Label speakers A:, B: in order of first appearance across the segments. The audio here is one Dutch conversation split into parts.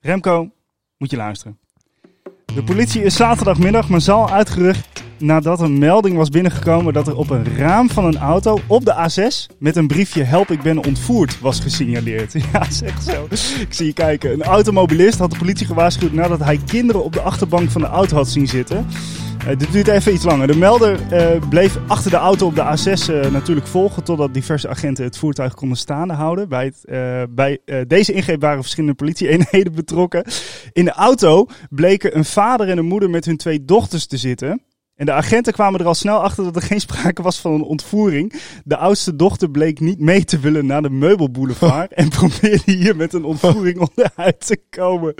A: Remco, moet je luisteren. De politie is zaterdagmiddag massaal uitgerucht nadat een melding was binnengekomen dat er op een raam van een auto op de A6 met een briefje help ik ben ontvoerd was gesignaleerd. Ja, zeg zo. Ik zie je kijken. Een automobilist had de politie gewaarschuwd nadat hij kinderen op de achterbank van de auto had zien zitten. Eh, dit duurt even iets langer. De melder eh, bleef achter de auto op de A6 eh, natuurlijk volgen totdat diverse agenten het voertuig konden staande houden. Bij, het, eh, bij eh, deze ingreep waren verschillende politieeenheden betrokken. In de auto bleken een vader en een moeder met hun twee dochters te zitten. En de agenten kwamen er al snel achter dat er geen sprake was van een ontvoering. De oudste dochter bleek niet mee te willen naar de meubelboulevard. en probeerde hier met een ontvoering onderuit te komen.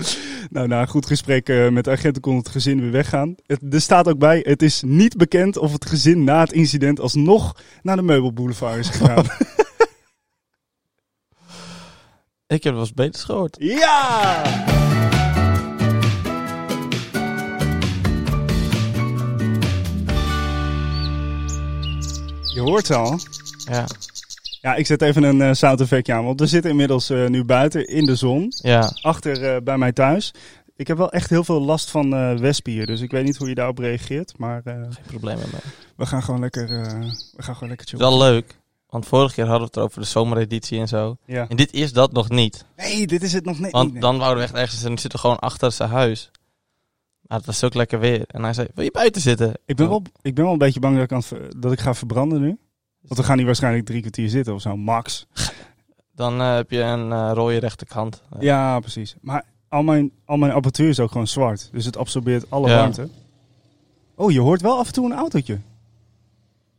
A: Nou, na een goed gesprek eh, met de agenten kon het gezin weer weggaan. Het, er staat ook bij: het is niet bekend of het gezin na het incident alsnog naar de meubelboulevard is gegaan.
B: Ik heb wel eens beters gehoord.
A: ja! Je hoort al.
B: Ja.
A: Ja, ik zet even een eh sound effectje aan. Want we zitten inmiddels eh, nu buiten in de zon.
B: Ja.
A: Achter eh, bij mij thuis. Ik heb wel echt heel veel last van eh wespen hier. Dus ik weet niet hoe je daarop reageert. Maar eh,
B: Geen probleem mee. Het
A: we gaan gewoon lekker, eh, we gaan gewoon lekker
B: is
A: chillen.
B: wel leuk. Want vorige keer hadden we het erover de zomereditie en zo.
A: Ja.
B: En dit is dat nog niet.
A: Nee, dit is het nog niet.
B: Want
A: nee.
B: dan wouden we echt ergens en zitten we gewoon achter zijn huis. Maar het was ook lekker weer. En hij zei, wil je buiten zitten?
A: ik, ben wel, ik ben wel een beetje bang dat ik, aan het ver- dat ik ga verbranden nu. Want we gaan hier waarschijnlijk drie kwartier zitten of zo. Max.
B: Dan eh, heb je een eh, rode rechterkant. Eh,
A: Ja, precies. Maar al mijn, al mijn apparatuur is ook gewoon zwart. Dus het absorbeert alle
B: Ja.
A: warmte. Oh, je hoort wel af en toe een autootje.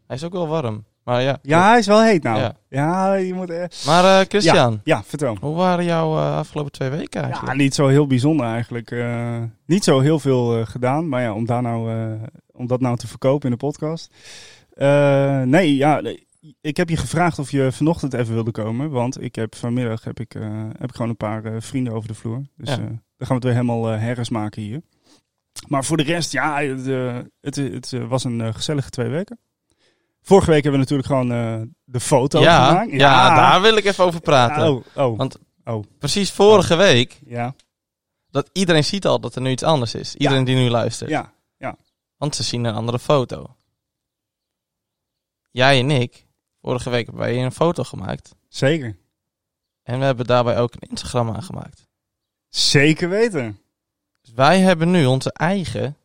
B: Hij is ook wel warm. Maar ja.
A: Ja, hij is wel heet nou. Ja,
B: Ja.
A: je moet... eh,
B: Maar eh, Christian,
A: Ja, vertel.
B: hoe waren jouw eh, afgelopen twee weken eigenlijk?
A: Ja, niet zo heel bijzonder eigenlijk. Eh, niet zo heel veel eh, gedaan. Maar ja, om, daar nou, eh, om dat nou te verkopen in de podcast. Eh, nee, ja, nee. ik heb je gevraagd of je vanochtend even wilde komen. Want ik heb vanmiddag heb ik, eh, heb ik gewoon een paar eh, vrienden over de vloer. Dus
B: Ja.
A: eh, dan gaan we het weer helemaal eh herres maken hier. Maar voor de rest, ja, het, eh, het, het, eh, was een eh, gezellige twee weken. Vorige week hebben we natuurlijk gewoon eh, de foto
B: ja,
A: gemaakt.
B: ja, daar wil ik even over praten.
A: Oh, oh,
B: Want- Precies vorige week,
A: ja,
B: dat iedereen ziet al dat er nu iets anders is. Iedereen die nu luistert.
A: ja.
B: Want ze zien een andere foto. Jij en ik, vorige week hebben wij een foto gemaakt.
A: Zeker.
B: En we hebben daarbij ook een Instagram aangemaakt.
A: Zeker weten.
B: Dus wij hebben nu onze eigen,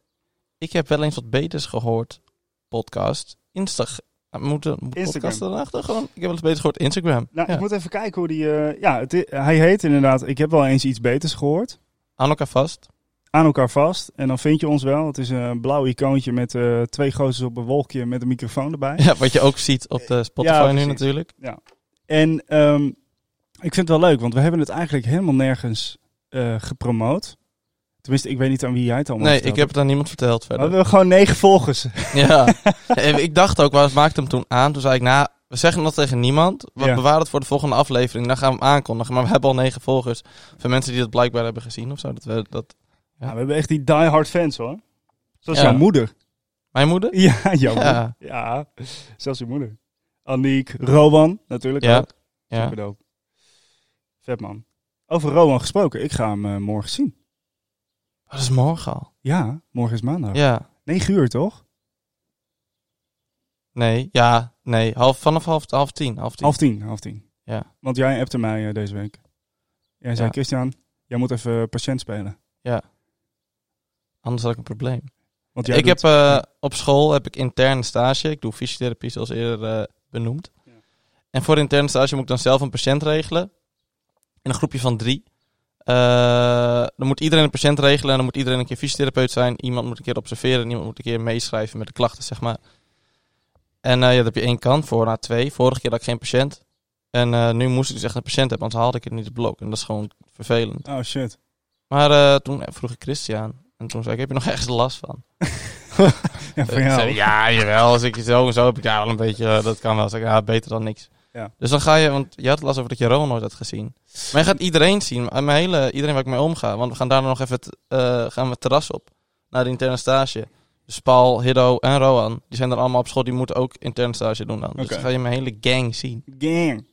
B: ik heb wel eens wat beters gehoord, podcast. Instagram. Moeten moet
A: Instagram.
B: podcast erachter gewoon? Ik heb wel eens beter gehoord Instagram.
A: Nou,
B: ja.
A: ik moet even kijken hoe die. eh, ja, het i- hij heet inderdaad. Ik heb wel eens iets beters gehoord.
B: Aan elkaar vast.
A: Aan elkaar vast. En dan vind je ons wel. Het is een blauw icoontje met eh, twee gozers op een wolkje met een microfoon erbij.
B: Ja, wat je ook ziet op de Spotify
A: Ja,
B: nu
A: precies.
B: natuurlijk.
A: En ehm, ik vind het wel leuk, want we hebben het eigenlijk helemaal nergens eh, gepromoot. Tenminste, ik weet niet aan wie jij het allemaal
B: Nee,
A: verteld
B: ik heb het aan niemand verteld
A: hebt.
B: verder.
A: Maar we hebben gewoon negen volgers.
B: Ja, En ik dacht ook, we maakten hem toen aan. Toen zei ik, nou, we zeggen dat tegen niemand. We
A: Ja.
B: bewaren het voor de volgende aflevering. Dan gaan we hem aankondigen. Maar we hebben al negen volgers. Van mensen die dat blijkbaar hebben gezien of zo. Dat we, dat...
A: Ja, Nou, we hebben echt die diehard fans hoor. Zoals
B: Ja.
A: jouw moeder.
B: Mijn moeder?
A: Ja, jouw moeder.
B: Ja.
A: Ja, zelfs je moeder. Aniek, Rowan natuurlijk
B: Ja.
A: ook.
B: ja.
A: Superdope. Vet man. Over Rowan gesproken, ik ga hem eh, morgen zien.
B: Oh, dat is morgen al.
A: Ja, morgen is maandag.
B: Ja.
A: 9 uur toch?
B: Nee, ja, nee. Half, vanaf half, half tien. Half tien.
A: Half tien, half tien.
B: Ja.
A: Want jij appte mij eh, deze week. Jij zei,
B: Ja.
A: Christian, jij moet even eh, patiënt spelen.
B: Anders had ik een probleem.
A: Want jij
B: Ik heb
A: doet-
B: eh, op school heb ik interne stage. Ik doe fysiotherapie zoals eerder eh, benoemd.
A: Ja.
B: En voor interne stage moet ik dan zelf een patiënt regelen. In een groepje van drie. Eh, dan moet iedereen een patiënt regelen. En dan moet iedereen een keer fysiotherapeut zijn. Iemand moet een keer observeren. En iemand moet een keer meeschrijven met de klachten, zeg maar. En eh, ja, daar heb je één kant voor na twee. Vorige keer had ik geen patiënt. En eh, nu moest ik dus echt een patiënt hebben, anders haalde ik het niet op blok. En dat is gewoon vervelend.
A: Oh shit.
B: Maar eh, toen vroeg ik Christian. En toen zei ik, heb je nog ergens last van?
A: Ja, van
B: Ik
A: jou.
B: zei, Eh, ja, jawel. Als ik zo en zo heb ik daar wel een beetje. eh, dat kan wel. Zeg, ik, ja, beter dan niks.
A: Ja.
B: Dus dan ga je, want je had het last over dat je Ron nooit had gezien. Maar je gaat iedereen zien. maar Mijn hele, iedereen waar ik mee omga. Want we gaan daarna nog even het, eh, gaan we het terras op. Naar de interne stage. Dus Paul, Hiddo en Roan. Die zijn er allemaal op school. Die moeten ook interne stage doen dan. Dus
A: Oké.
B: dan ga je mijn hele gang zien.
A: Gang.
B: Een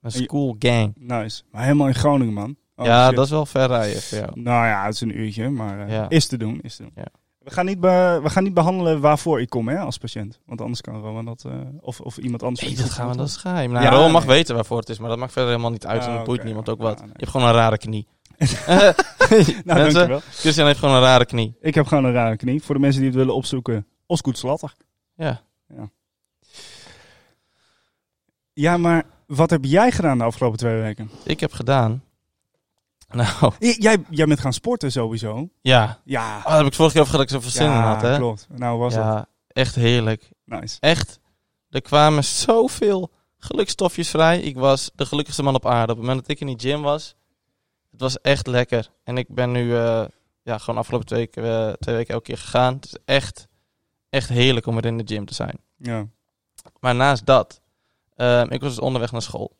A: En je-
B: school gang.
A: Nice. Maar helemaal in Groningen, man. Oh,
B: ja,
A: shit.
B: dat is wel ver rijden voor jou.
A: Nou ja, het is een uurtje, maar eh,
B: Ja.
A: is te doen. Is te doen.
B: Ja.
A: We, gaan niet be- we gaan niet behandelen waarvoor ik kom hè, als patiënt. Want anders kan Roman dat... eh, of, of iemand anders...
B: Nee, dat gaan we, dat is geheim. Nou,
A: Ja,
B: Roel mag
A: nee.
B: weten waarvoor het is, maar dat maakt verder helemaal niet uit.
A: Ah,
B: en dat
A: oké.
B: boeit niemand ook
A: Ja,
B: wat.
A: nee.
B: Je hebt gewoon een rare knie.
A: Nou,
B: Mensen?
A: dankjewel.
B: Christian heeft gewoon een rare knie.
A: Ik heb gewoon een rare knie. Voor de mensen die het willen opzoeken, Osgoed Slatter.
B: Ja.
A: Ja, maar wat heb jij gedaan de afgelopen twee weken?
B: Ik heb gedaan. Nou,
A: J- Jij, jij bent gaan sporten sowieso.
B: ja.
A: Ja,
B: Oh, daar heb ik vorige keer over gezegd dat ik zoveel zin in
A: ja
B: had, hè?
A: klopt. Nou was het.
B: Ja, echt heerlijk.
A: Nice.
B: Echt. Er kwamen zoveel gelukstofjes vrij. Ik was de gelukkigste man op aarde. Op het moment dat ik in die gym was, het was echt lekker. En ik ben nu eh, ja, gewoon afgelopen twee weken, eh, twee weken elke keer gegaan. Het is echt, echt heerlijk om weer in de gym te zijn.
A: Ja.
B: Maar naast dat, ehm, ik was dus onderweg naar school.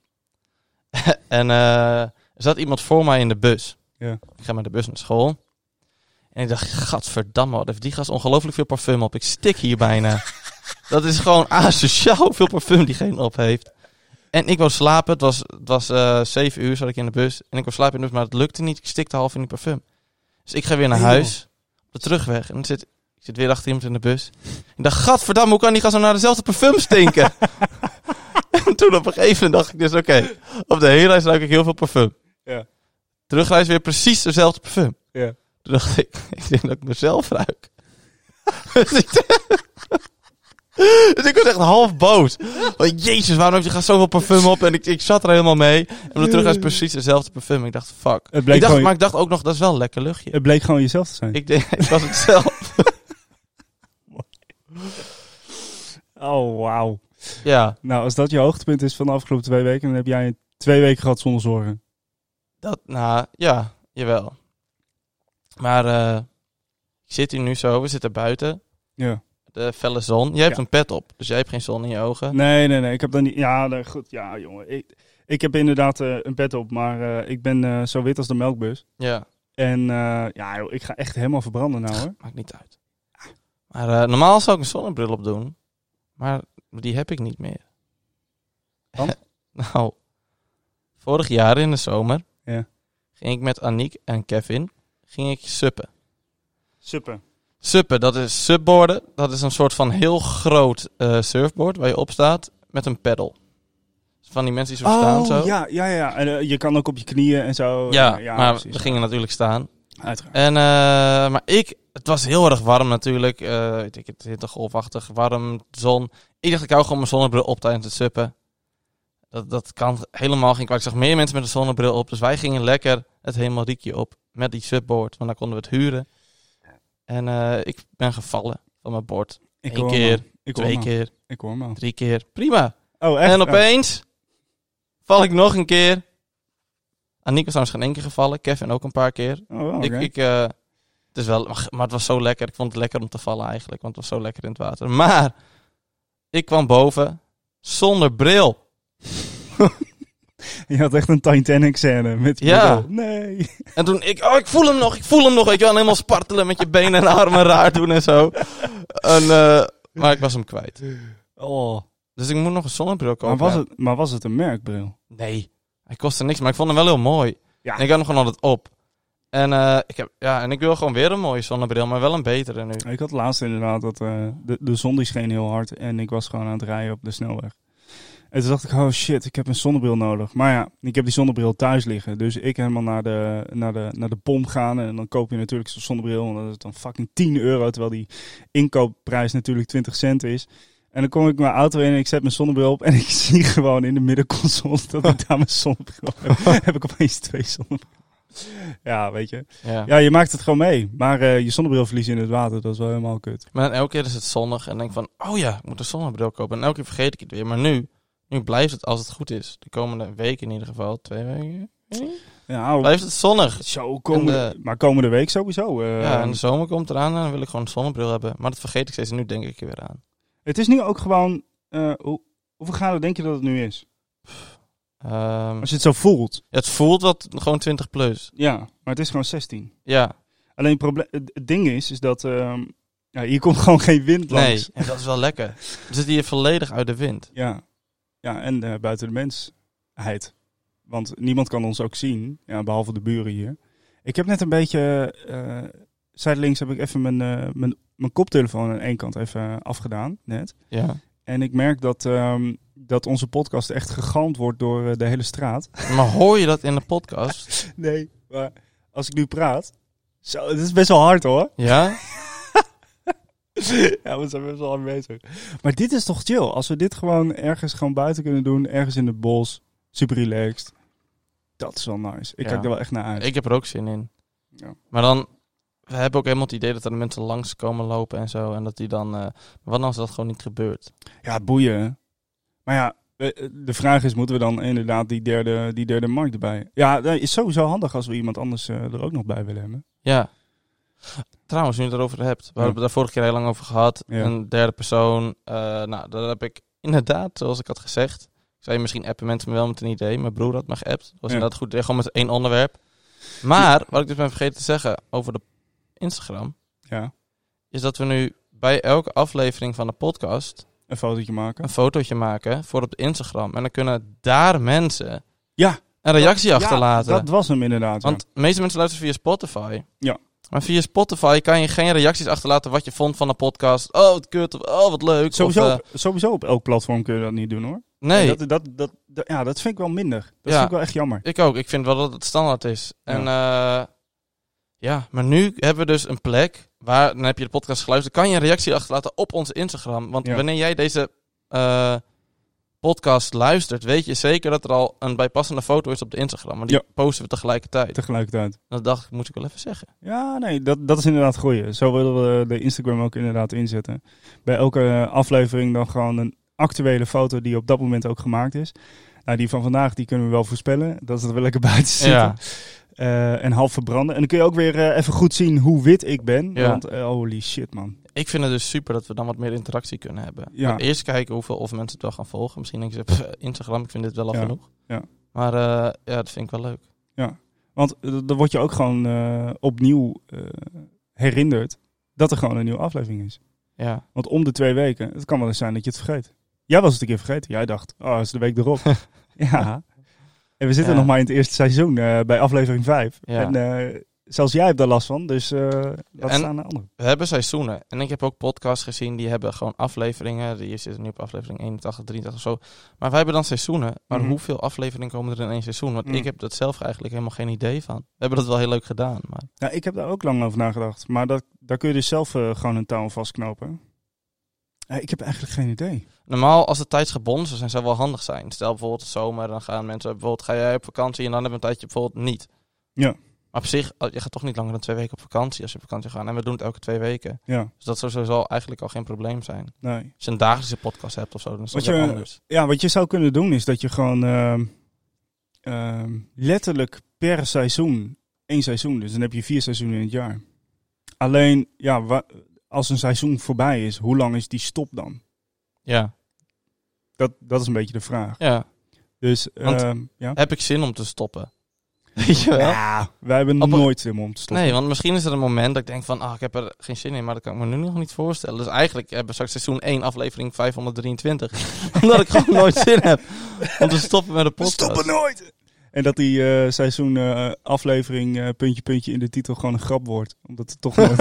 B: en eh, er zat iemand voor mij in de bus.
A: Ja.
B: Ik ga met de bus naar school. En ik dacht, gadverdamme, wat heeft die gast ongelooflijk veel parfum op. Ik stik hier bijna. dat is gewoon asociaal hoeveel parfum diegene op heeft. En ik wou slapen. Het was, het was eh 7 uur zat ik in de bus. En ik wou slapen in de bus, maar het lukte niet. Ik stikte half in die parfum. Dus ik ga weer naar
A: Nee,
B: huis. Op de terugweg. En dan zit, ik zit weer achter iemand in de bus. Ik dacht, gadverdamme, hoe kan die gast nou naar dezelfde parfum stinken? en toen op een gegeven moment dacht ik dus, oké, op de hele reis ruik ik heel veel parfum.
A: Ja.
B: Terugreis weer precies dezelfde parfum.
A: Ja.
B: Toen dacht ik, ik denk dat ik mezelf ruik. dus, ik, dus ik was echt half boos. Want jezus, waarom heeft die gast zoveel parfum op? En ik, ik zat er helemaal mee. En op de terugreis precies dezelfde parfum. Ik dacht, fuck.
A: Mm. Het bleek
B: Ik dacht,
A: gewoon-
B: maar ik dacht ook nog, dat is wel een lekker luchtje.
A: Het bleek gewoon jezelf te zijn.
B: Ik, denk, ik was het zelf.
A: Oh, wauw.
B: Ja,
A: Nou, als dat je hoogtepunt is van de afgelopen twee weken, dan heb jij twee weken gehad zonder zorgen.
B: dat, nou, ja, jawel. Maar eh, ik zit hier nu zo, we zitten buiten.
A: Ja.
B: De felle zon. Jij hebt
A: Ja.
B: een pet op, dus jij hebt geen zon in je ogen.
A: Nee, nee, nee. Ik heb dan niet... Ja, nee, goed. Ja, jongen. Ik, ik heb inderdaad eh, een pet op, maar eh, ik ben eh, zo wit als de melkbus.
B: Ja,
A: En eh, ja, joh, ik ga echt helemaal verbranden nou, hoor.
B: maakt niet uit. Maar eh, normaal zou ik een zonnebril op doen, maar die heb ik niet meer.
A: Want?
B: nou, vorig jaar in de zomer
A: Ja.
B: ging ik met Aniek en Kevin ging ik suppen.
A: Super.
B: Suppen, dat is subborden. Dat is een soort van heel groot eh, surfboard waar je op staat met een pedal. Van die mensen die zo staan zo.
A: Oh, ja, ja, ja. En, eh, je kan ook op je knieën en zo.
B: Ja,
A: Eh, ja
B: maar
A: precies.
B: we gingen natuurlijk staan.
A: Uiteraard.
B: En, eh, maar ik, het was heel erg warm natuurlijk. Eh, weet ik, het hitte golfachtig, warm, zon. Ik dacht, ik hou gewoon mijn zonnebril op tijdens het suppen. Dat, dat kan helemaal geen kwaad. Ik zag meer mensen met een zonnebril op. Dus wij gingen lekker het helemaal riekje op met die subboard. Want dan konden we het huren. En eh, ik ben gevallen van mijn bord.
A: Ik
B: Eén
A: hoor
B: keer,
A: hem al. Ik hoor
B: Twee
A: hem al.
B: keer,
A: Ik hoor hem al.
B: drie keer. Prima.
A: Oh, echt?
B: En
A: Oh.
B: opeens val ik nog een keer. Aniek was trouwens geen één keer gevallen. Kevin ook een paar keer.
A: Oh, wow, oké.
B: Ik, ik, eh, het is wel, maar het was zo lekker. Ik vond het lekker om te vallen eigenlijk. Want het was zo lekker in het water. Maar ik kwam boven zonder bril.
A: Je had echt een Titanic-scène met die
B: Ja.
A: bril. Nee.
B: En toen ik, oh ik voel hem nog, ik voel hem nog. Weet je wel, en helemaal spartelen met je benen en armen raar doen en zo. En, eh, maar ik was hem kwijt.
A: Oh.
B: Dus ik moet nog een zonnebril kopen.
A: Maar was, het, maar was het een merkbril?
B: Nee, hij kostte niks, maar ik vond hem wel heel mooi.
A: Ja.
B: En ik had hem gewoon altijd op. En, eh, ik heb, ja, en ik wil gewoon weer een mooie zonnebril, maar wel een betere nu.
A: Ik had laatst inderdaad dat eh, de, de zon die scheen heel hard en ik was gewoon aan het rijden op de snelweg. En toen dacht ik, oh shit, ik heb een zonnebril nodig. Maar ja, ik heb die zonnebril thuis liggen. Dus ik helemaal naar de, naar de, naar de pomp gaan. En dan koop je natuurlijk zo'n zonnebril. En dat is dan fucking 10 euro. Terwijl die inkoopprijs natuurlijk 20 cent is. En dan kom ik mijn auto in en ik zet mijn zonnebril op. En ik zie gewoon in de middenconsole dat ik daar mijn zonnebril heb. heb ik opeens twee zonnebrillen. Ja, weet je.
B: Ja.
A: Ja, je maakt het gewoon mee. Maar eh, je zonnebril verliezen in het water, dat is wel helemaal kut.
B: Maar dan elke keer is het zonnig en denk ik van, oh ja, ik moet een zonnebril kopen. En elke keer vergeet ik het weer. Maar nu, nu blijft het als het goed is. De komende week in ieder geval, twee weken,
A: Ja, oh,
B: blijft het zonnig.
A: zo komende,
B: En, eh,
A: maar komende week sowieso. eh,
B: Ja, en de zomer komt eraan en dan wil ik gewoon een zonnebril hebben. Maar dat vergeet ik steeds en nu denk ik er weer aan.
A: Het is nu ook gewoon... eh, hoe, hoeveel graden denk je dat het nu is?
B: Ehm,
A: Als je het zo voelt.
B: het voelt wat gewoon 20 plus.
A: Ja, maar het is gewoon 16.
B: Ja,
A: Alleen het, proble- het, het ding is, is dat... ehm, ja, hier komt gewoon geen wind
B: nee,
A: langs.
B: en dat is wel lekker. We zitten hier volledig uit de wind.
A: Ja. ja, en eh, buiten de mensheid. Want niemand kan ons ook zien, ja, behalve de buren hier. Ik heb net een beetje, eh zijdelings heb ik even mijn, eh, mijn, mijn koptelefoon aan één kant even afgedaan, net.
B: Ja.
A: En ik merk dat, ehm, dat onze podcast echt gegalmd wordt door eh, de hele straat.
B: Maar hoor je dat in de podcast?
A: Nee, maar als ik nu praat, zo, het is best wel hard hoor.
B: Ja?
A: ja, we zijn best wel aan bezig. Maar dit is toch chill? Als we dit gewoon ergens gewoon buiten kunnen doen, ergens in het bos, super relaxed. Dat is wel nice. Ik
B: Ja.
A: kijk er wel echt naar uit.
B: Ik heb er ook zin in.
A: Ja.
B: Maar dan, we hebben ook helemaal het idee dat er mensen langs komen lopen en zo. En dat die dan, eh, wat als dat gewoon niet gebeurt?
A: Ja, boeien. Maar ja, eh, de vraag is, moeten we dan inderdaad die derde, die derde markt erbij? Ja, dat is sowieso handig als we iemand anders eh, er ook nog bij willen hebben.
B: Ja. Trouwens, nu je het erover hebt. We
A: Ja.
B: hebben het daar vorige keer heel lang over gehad.
A: Ja.
B: Een derde persoon. eh, nou, daar heb ik inderdaad, zoals ik had gezegd. Ik zei misschien appen mensen me wel met een idee. Mijn broer had me geappt. Dat was
A: Ja.
B: inderdaad goed. Gewoon met één onderwerp. Maar, wat ik dus ben vergeten te zeggen over de Instagram.
A: Ja,
B: Is dat we nu bij elke aflevering van de podcast
A: een fotootje maken.
B: een fotootje maken voor op de Instagram. En dan kunnen daar mensen
A: Ja.
B: een reactie
A: Ja,
B: achterlaten.
A: dat was hem inderdaad. ja.
B: Want de meeste mensen luisteren via Spotify.
A: Ja.
B: Maar via Spotify kan je geen reacties achterlaten wat je vond van de podcast. Oh, wat kut. Of, oh, wat leuk.
A: sowieso,
B: Of, eh,
A: op, sowieso op elk platform kun je dat niet doen hoor.
B: nee,
A: Dat, dat, dat, dat- ja, dat vind ik wel minder. Dat
B: Ja.
A: vind ik wel echt jammer.
B: ik ook. Ik vind wel dat het standaard is. En eh, ja, maar nu hebben we dus een plek waar, dan heb je de podcast geluisterd, kan je een reactie achterlaten op onze Instagram. Want
A: Ja.
B: wanneer jij deze eh, podcast luistert, weet je zeker dat er al een bijpassende foto is op de Instagram. Want die
A: Ja.
B: posten we tegelijkertijd.
A: Tegelijkertijd.
B: Dat dacht ik, moet ik wel even zeggen.
A: Ja, nee, dat, dat is inderdaad groeien. Zo willen we de Instagram ook inderdaad inzetten. Bij elke eh, aflevering dan gewoon een actuele foto die op dat moment ook gemaakt is. Nou, die van vandaag, die kunnen we wel voorspellen. Dat is dat we lekker buiten zitten.
B: Ja.
A: Eh, en half verbranden. En dan kun je ook weer eh, even goed zien hoe wit ik ben.
B: Ja.
A: Want eh, holy shit, man.
B: Ik vind het dus super dat we dan wat meer interactie kunnen hebben.
A: Ja.
B: Maar Eerst kijken hoeveel of mensen het wel gaan volgen. Misschien denken ze, "Pff, Instagram, ik vind dit wel al
A: Ja,
B: genoeg.
A: ja.
B: Maar eh, ja, dat vind ik wel leuk.
A: Want eh, dan word je ook gewoon eh, opnieuw eh, herinnerd dat er gewoon een nieuwe aflevering is.
B: Ja.
A: Want om de twee weken, het kan wel eens zijn dat je het vergeet. Jij was het een keer vergeten. Jij dacht, oh, het is de week erop. ja. En we zitten
B: Ja.
A: nog maar in het eerste seizoen eh, bij aflevering 5.
B: Ja.
A: En eh, zelfs jij hebt daar last van, dus eh dat
B: En-
A: is aan de ander.
B: We hebben seizoenen. En ik heb ook podcasts gezien die hebben gewoon afleveringen. Die zit nu op aflevering 81, 83 of zo. Maar wij hebben dan seizoenen. Maar
A: Mhm.
B: hoeveel afleveringen komen er in één seizoen? Want
A: Mm.
B: ik heb dat zelf eigenlijk helemaal geen idee van. We hebben dat wel heel leuk gedaan. Maar
A: Nou, ik heb daar ook lang over nagedacht. Maar dat, daar kun je dus zelf eh, gewoon een touw aan vastknopen. Eh, ik heb eigenlijk geen idee.
B: normaal, als het tijdsgebonden zou zijn, zou wel handig zijn. Stel bijvoorbeeld de zomer, dan gaan mensen bijvoorbeeld, ga jij op vakantie en dan hebben we een tijdje bijvoorbeeld niet.
A: Ja.
B: Maar op zich, eh, je gaat toch niet langer dan twee weken op vakantie als je op vakantie gaat. En we doen het elke twee weken.
A: Ja,
B: Dus dat zou sowieso eigenlijk al geen probleem zijn.
A: nee.
B: Als je een dagelijkse podcast hebt of zo, dan is dat
A: Wat
B: weer
A: je-
B: anders.
A: Ja, wat je zou kunnen doen is dat je gewoon ehm, ehm, letterlijk per seizoen, één seizoen, dus dan heb je vier seizoenen in het jaar. Alleen, ja, wa- als een seizoen voorbij is, hoe lang is die stop dan?
B: Ja.
A: Dat, dat is een beetje de vraag.
B: ja.
A: Dus,
B: Want-
A: ehm, ja.
B: Heb ik zin om te stoppen? Weet je wel?
A: Ja, wij hebben
B: Op een-
A: nooit zin om te stoppen.
B: Nee, want misschien is er een moment dat ik denk van, ah, ik heb er geen zin in, maar dat kan ik me nu nog niet voorstellen. Dus eigenlijk hebben we straks seizoen 1, aflevering 523. omdat ik gewoon nooit zin heb om te stoppen met de
A: We
B: podcast.
A: stoppen nooit! En dat die eh, seizoen eh, aflevering eh, puntje puntje in de titel gewoon een grap wordt. Omdat het toch nooit...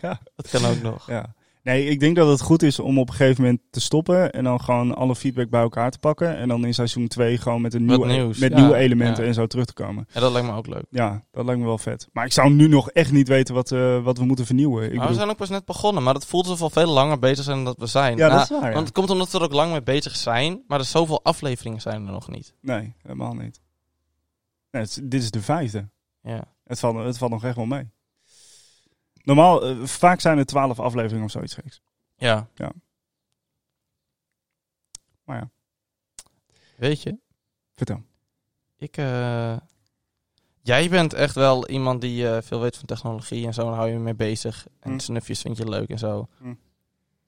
A: ja.
B: Dat kan ook nog.
A: Ja. Nee, ik denk dat het goed is om op een gegeven moment te stoppen en dan gewoon alle feedback bij elkaar te pakken. En dan in seizoen 2 gewoon met, een
B: Wat
A: nieuwe,
B: nieuws,
A: met
B: ja,
A: nieuwe elementen
B: ja.
A: en zo terug te komen.
B: En dat lijkt me ook leuk.
A: Ja, dat lijkt me wel vet. Maar ik zou nu nog echt niet weten wat, eh, wat we moeten vernieuwen. Ik
B: maar we
A: bedoel,
B: zijn ook pas net begonnen, maar dat voelt alsof we al veel langer bezig zijn dan dat we zijn.
A: ja, dat
B: Nou,
A: is waar. ja.
B: Want het komt omdat we er ook lang mee bezig zijn, maar er zoveel afleveringen zijn er nog niet.
A: Nee, helemaal niet. Nee, het is- dit is de vijfde.
B: Ja.
A: Het valt, het valt nog echt wel mee. Normaal, eh, vaak zijn er twaalf afleveringen of zoiets geks.
B: Ja.
A: Ja. Maar ja.
B: Weet je,
A: Vertel.
B: ik... eh, Jij bent echt wel iemand die eh, veel weet van technologie en zo, en daar hou je mee bezig. En
A: Hm.
B: snufjes vind je leuk en zo.
A: Hm.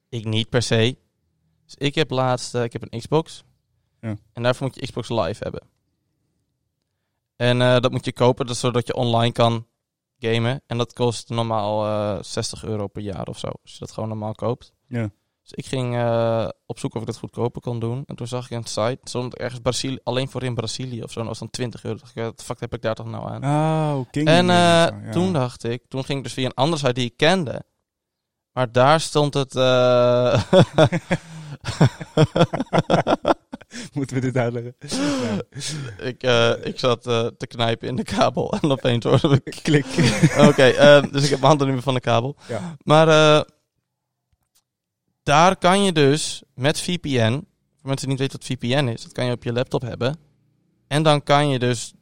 B: Ik niet per se. Dus ik heb laatst, eh, ik heb een Xbox.
A: Ja.
B: En daarvoor moet je Xbox Live hebben. En eh, dat moet je kopen, dat, zodat je online kan gamen. En dat kost normaal eh, 60 euro per jaar of zo. Als je dat gewoon normaal koopt.
A: Ja.
B: Dus Dus ik ging eh, op zoek of ik dat goedkoper kon doen. En toen zag ik een site, stond ergens Brazilië, alleen voor in Brazilië of zo. En dat was dan 20 euro. Toen dacht ik, wat de fuck heb ik daar toch nou aan?
A: Oh, King.
B: En eh,
A: Ja.
B: toen dacht ik, toen ging ik dus via een andere site die ik kende. Maar daar stond het. eh,
A: Moeten we dit uitleggen?
B: ik, eh, ik zat eh, te knijpen in de kabel en opeens hoorde ik.
A: Klik.
B: Oké, eh, dus ik heb mijn handen nu meer van de kabel.
A: Ja.
B: Maar eh, daar kan je dus met VPN, voor mensen die niet weten wat VPN is, dat kan je op je laptop hebben. En dan kan je dus,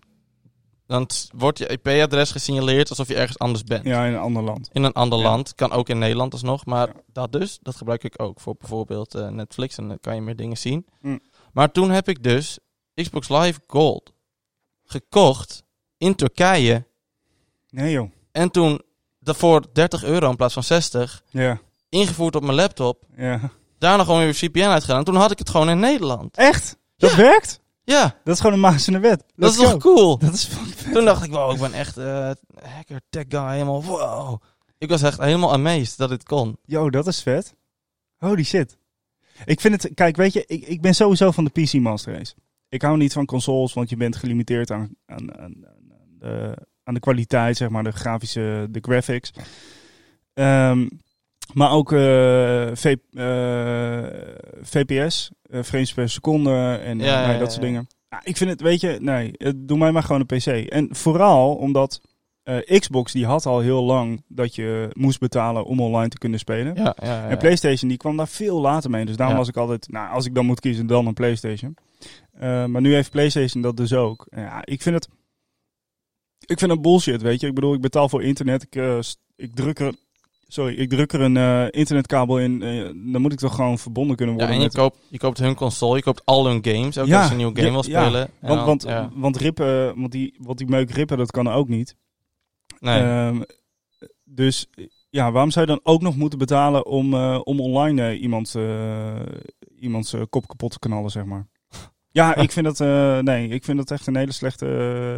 B: dan t- wordt je IP-adres gesignaleerd alsof je ergens anders bent.
A: ja, in een ander land.
B: In een ander
A: Ja.
B: land, kan ook in Nederland alsnog, maar
A: Ja.
B: dat dus, dat gebruik ik ook voor bijvoorbeeld eh, Netflix en dan kan je meer dingen zien.
A: Hm.
B: Maar toen heb ik dus Xbox Live Gold gekocht in Turkije
A: Nee, joh.
B: en toen daarvoor 30 euro in plaats van 60
A: Ja.
B: ingevoerd op mijn laptop.
A: ja.
B: Daarna gewoon weer VPN uitgedaan. Toen had ik het gewoon in Nederland.
A: Echt? Dat werkt?
B: Ja, dat
A: Dat is gewoon een maas in de wet. Let's
B: is toch
A: go.
B: cool?
A: Dat is fucking vet.
B: Toen dacht ik, wow, ik ben echt eh, hacker, tech guy, helemaal wow. Ik was echt helemaal amazed dat dit kon.
A: Yo, dat is vet. Holy shit. Ik vind het, kijk, weet je, ik, ik ben sowieso van de PC Master Race. Ik hou niet van consoles, want je bent gelimiteerd aan, aan, aan, aan, eh, aan de kwaliteit, zeg maar, de grafische, de graphics. Ehm, maar ook eh, V- eh, VPS, eh, frames per seconde en
B: Ja,
A: eh, nou, dat
B: ja, ja,
A: soort
B: ja.
A: dingen. Nou, ik vind het, weet je, nee, eh, doe mij maar gewoon een PC. En vooral omdat eh, Xbox, die had al heel lang dat je moest betalen om online te kunnen spelen.
B: Ja, ja, ja.
A: En PlayStation die kwam daar veel later mee. Dus daarom
B: Ja.
A: was ik altijd, nou, als ik dan moet kiezen, dan een PlayStation. Eh, maar nu heeft PlayStation dat dus ook. Ja, ik vind het. Ik vind het bullshit, weet je. Ik bedoel, ik betaal voor internet. Ik, eh, st- ik druk er. Sorry, ik druk er een eh, internetkabel in. eh, dan moet ik toch gewoon verbonden kunnen
B: Ja,
A: worden.
B: en je
A: met-
B: koopt, je koopt hun console, je koopt al hun games. Ook
A: Ja,
B: als je een nieuwe game
A: ja,
B: wil
A: ja.
B: spelen. En
A: want, eh,
B: dan-
A: want,
B: ja.
A: want rippen, want die, want die meuk rippen, dat kan ook niet.
B: Nee.
A: Ehm, dus ja, waarom zou je dan ook nog moeten betalen om, eh, om online eh, iemand, eh, iemands eh, kop kapot te knallen, zeg maar? Ja, ik vind dat, eh, nee, ik vind dat echt een hele slechte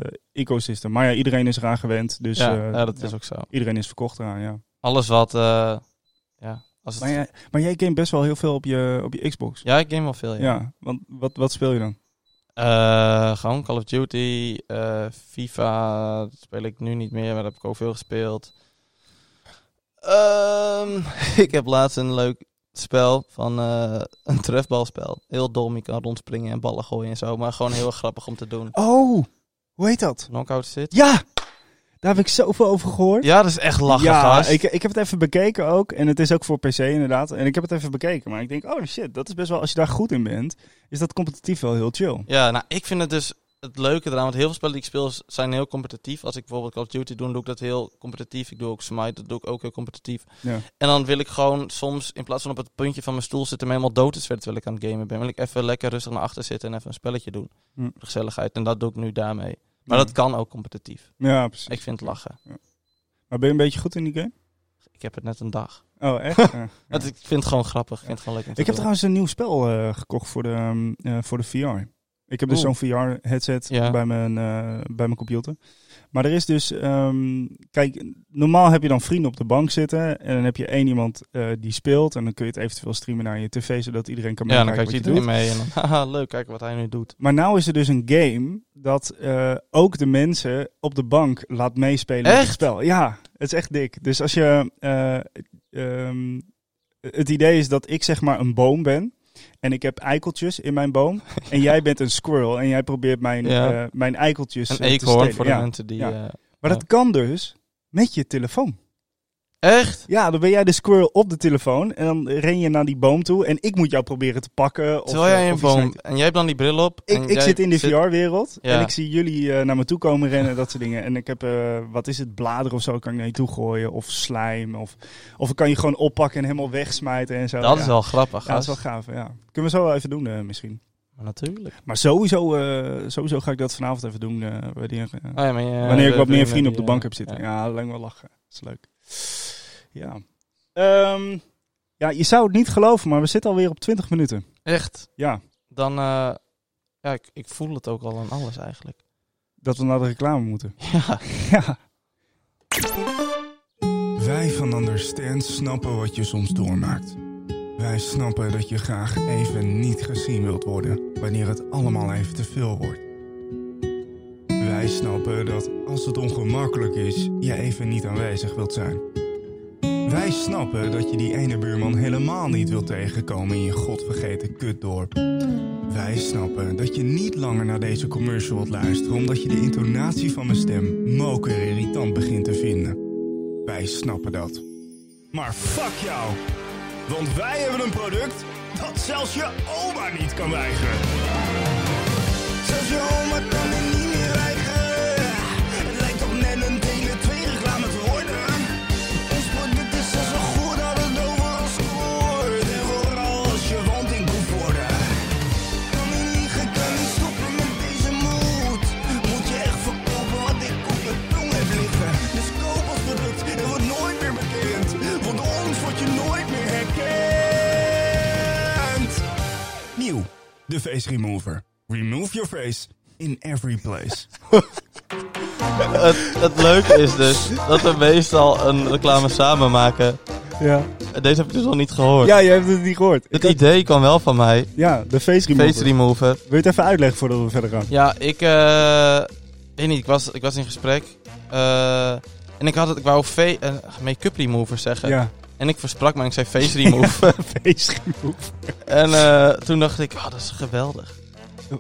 A: eh, ecosystem. Maar ja, iedereen is eraan gewend, dus
B: ja,
A: eh,
B: ja, dat is
A: ja,
B: ook zo.
A: iedereen is verkocht eraan, ja.
B: Alles wat, eh, ja. Als het,
A: Maar
B: ja,
A: jij, maar jij game best wel heel veel op je, op je Xbox.
B: ik game wel veel,
A: Ja,
B: ja.
A: want wat, wat speel je dan?
B: Eh, gewoon Call of Duty, eh, FIFA dat speel ik nu niet meer, maar dat heb ik ook veel gespeeld. Ehm, ik heb laatst een leuk spel van eh, een trefbalspel. Heel dom, je kan rondspringen en ballen gooien en zo, maar gewoon heel erg grappig om te doen.
A: Oh, hoe heet dat?
B: Knockout zit.
A: Ja, daar heb ik zoveel over gehoord.
B: Ja, dat is echt lachen,
A: ja,
B: gast.
A: ik, ik heb het even bekeken ook. En het is ook voor PC inderdaad. En ik heb het even bekeken. Maar ik denk, oh shit, dat is best wel, als je daar goed in bent, is dat competitief wel heel chill.
B: Ja, nou, ik vind het dus het leuke eraan, want heel veel spellen die ik speel s- zijn heel competitief. Als ik bijvoorbeeld Call of Duty doe, doe ik dat heel competitief. Ik doe ook Smite, dat doe ik ook heel competitief.
A: Ja.
B: En dan wil ik gewoon soms, in plaats van op het puntje van mijn stoel zitten, me helemaal dood te zweten terwijl ik aan het gamen ben, wil ik even lekker rustig naar achter zitten en even een spelletje doen.
A: Hm.
B: Voor de Gezelligheid. En dat doe ik nu daarmee. Maar dat kan ook competitief.
A: Ja, precies.
B: Ik vind het lachen.
A: Maar ben je een beetje goed in die game?
B: Ik heb het net een dag.
A: Oh, echt? Ja.
B: Want ik vind het gewoon grappig. Ik vind het gewoon leuk. om te
A: Ik heb
B: doen.
A: trouwens een nieuw spel eh, gekocht voor de, ehm, eh, voor de VR. Ik heb dus
B: Oeh.
A: zo'n VR-headset
B: Ja.
A: bij, mijn, eh, bij mijn computer. Maar er is dus... ehm, kijk, normaal heb je dan vrienden op de bank zitten. En dan heb je één iemand eh, die speelt. En dan kun je het eventueel streamen naar je tv, zodat iedereen kan
B: Ja,
A: meekijken
B: dan kijkt
A: wat je
B: iedereen
A: doet.
B: mee. En dan, haha, leuk, kijk wat hij nu doet.
A: Maar nou is er dus een game dat eh, ook de mensen op de bank laat meespelen met het
B: Echt?
A: spel. Ja, het is echt dik. Dus als je... eh, ehm, het idee is dat ik zeg maar een boom ben. En ik heb eikeltjes in mijn boom. En jij bent een squirrel. En jij probeert mijn,
B: Ja.
A: eh, mijn eikeltjes
B: Een
A: eh, te
B: eekhoorn
A: stelen.
B: voor de
A: Ja.
B: mensen die...
A: Ja.
B: eh,
A: Maar dat kan dus met je telefoon.
B: eh, echt?
A: Ja, dan ben jij de squirrel op de telefoon. En dan ren je naar die boom toe. En ik moet jou proberen te pakken. Of,
B: Terwijl
A: eh,
B: jij een
A: of iets
B: boom... En jij hebt dan die bril op.
A: Ik,
B: en
A: ik
B: jij
A: zit in de VR-wereld
B: Ja.
A: en ik zie jullie eh, naar me toe komen rennen en dat soort dingen. En ik heb, eh, wat is het, bladeren of zo kan ik naar je toe gooien of slijm. Of, of ik kan je gewoon oppakken en helemaal wegsmijten en zo.
B: Dat
A: ja.
B: is wel grappig,
A: Ja, dat is
B: gast.
A: wel gaaf, ja. Kunnen we zo wel even doen eh, misschien.
B: Maar natuurlijk.
A: Maar sowieso, eh, sowieso ga ik dat vanavond even doen eh, wanneer, eh,
B: Ah, ja, maar je-
A: wanneer ik
B: de
A: wat meer vrienden
B: die,
A: op de
B: eh,
A: bank heb zitten.
B: ja.
A: Ja, lang wel lachen. Dat is leuk. Ja. Ehm, ja, je zou het niet geloven, maar we zitten alweer op 20 minuten.
B: Echt.
A: Ja,
B: Dan... eh, ja, ik, ik voel het ook al aan alles eigenlijk.
A: dat we naar de reclame moeten.
B: Ja.
A: Ja. Wij van Understand snappen wat je soms doormaakt.
C: Wij snappen dat je graag even niet gezien wilt worden wanneer het allemaal even te veel wordt. Wij snappen dat als het ongemakkelijk is, je even niet aanwezig wilt zijn. Wij snappen dat je die ene buurman helemaal niet wilt tegenkomen in je godvergeten kutdorp. Wij snappen dat je niet langer naar deze commercial wilt luisteren omdat je de intonatie van mijn stem moker irritant begint te vinden. Wij snappen dat. Maar fuck jou! Want wij hebben een product dat zelfs je oma niet kan weigeren. Zelfs je oma kan het niet meer weigeren. Het lijkt op net een delen 2 reclame te worden. Ons product is al zo goed dat het overal scoort. En vooral als je wanting moet worden. Kan niet liegen, kan niet stoppen met deze moed. Moet je echt verkopen wat ik op je tong heb liggen. Dus koop ons product, het wordt nooit meer bekend. Want ons wordt je nooit meer herkend. Nieuw, de Face Remover. Remove your face in every place.
B: Het, het leuke is dus dat we meestal een reclame samen maken.
A: Ja,
B: Deze heb ik dus al niet gehoord.
A: ja je hebt het niet gehoord.
B: Het idee kwam wel van mij.
A: Ja, de face remover.
B: Face remover.
A: Wil je het even uitleggen voordat we verder gaan?
B: Ja, ik eh, weet niet. Ik was, ik was in gesprek. eh, en ik had het, ik wou fe- eh, make-up remover zeggen.
A: Ja,
B: En ik versprak me en ik zei face remover.
A: face remover.
B: en eh, toen dacht ik, oh, dat is geweldig.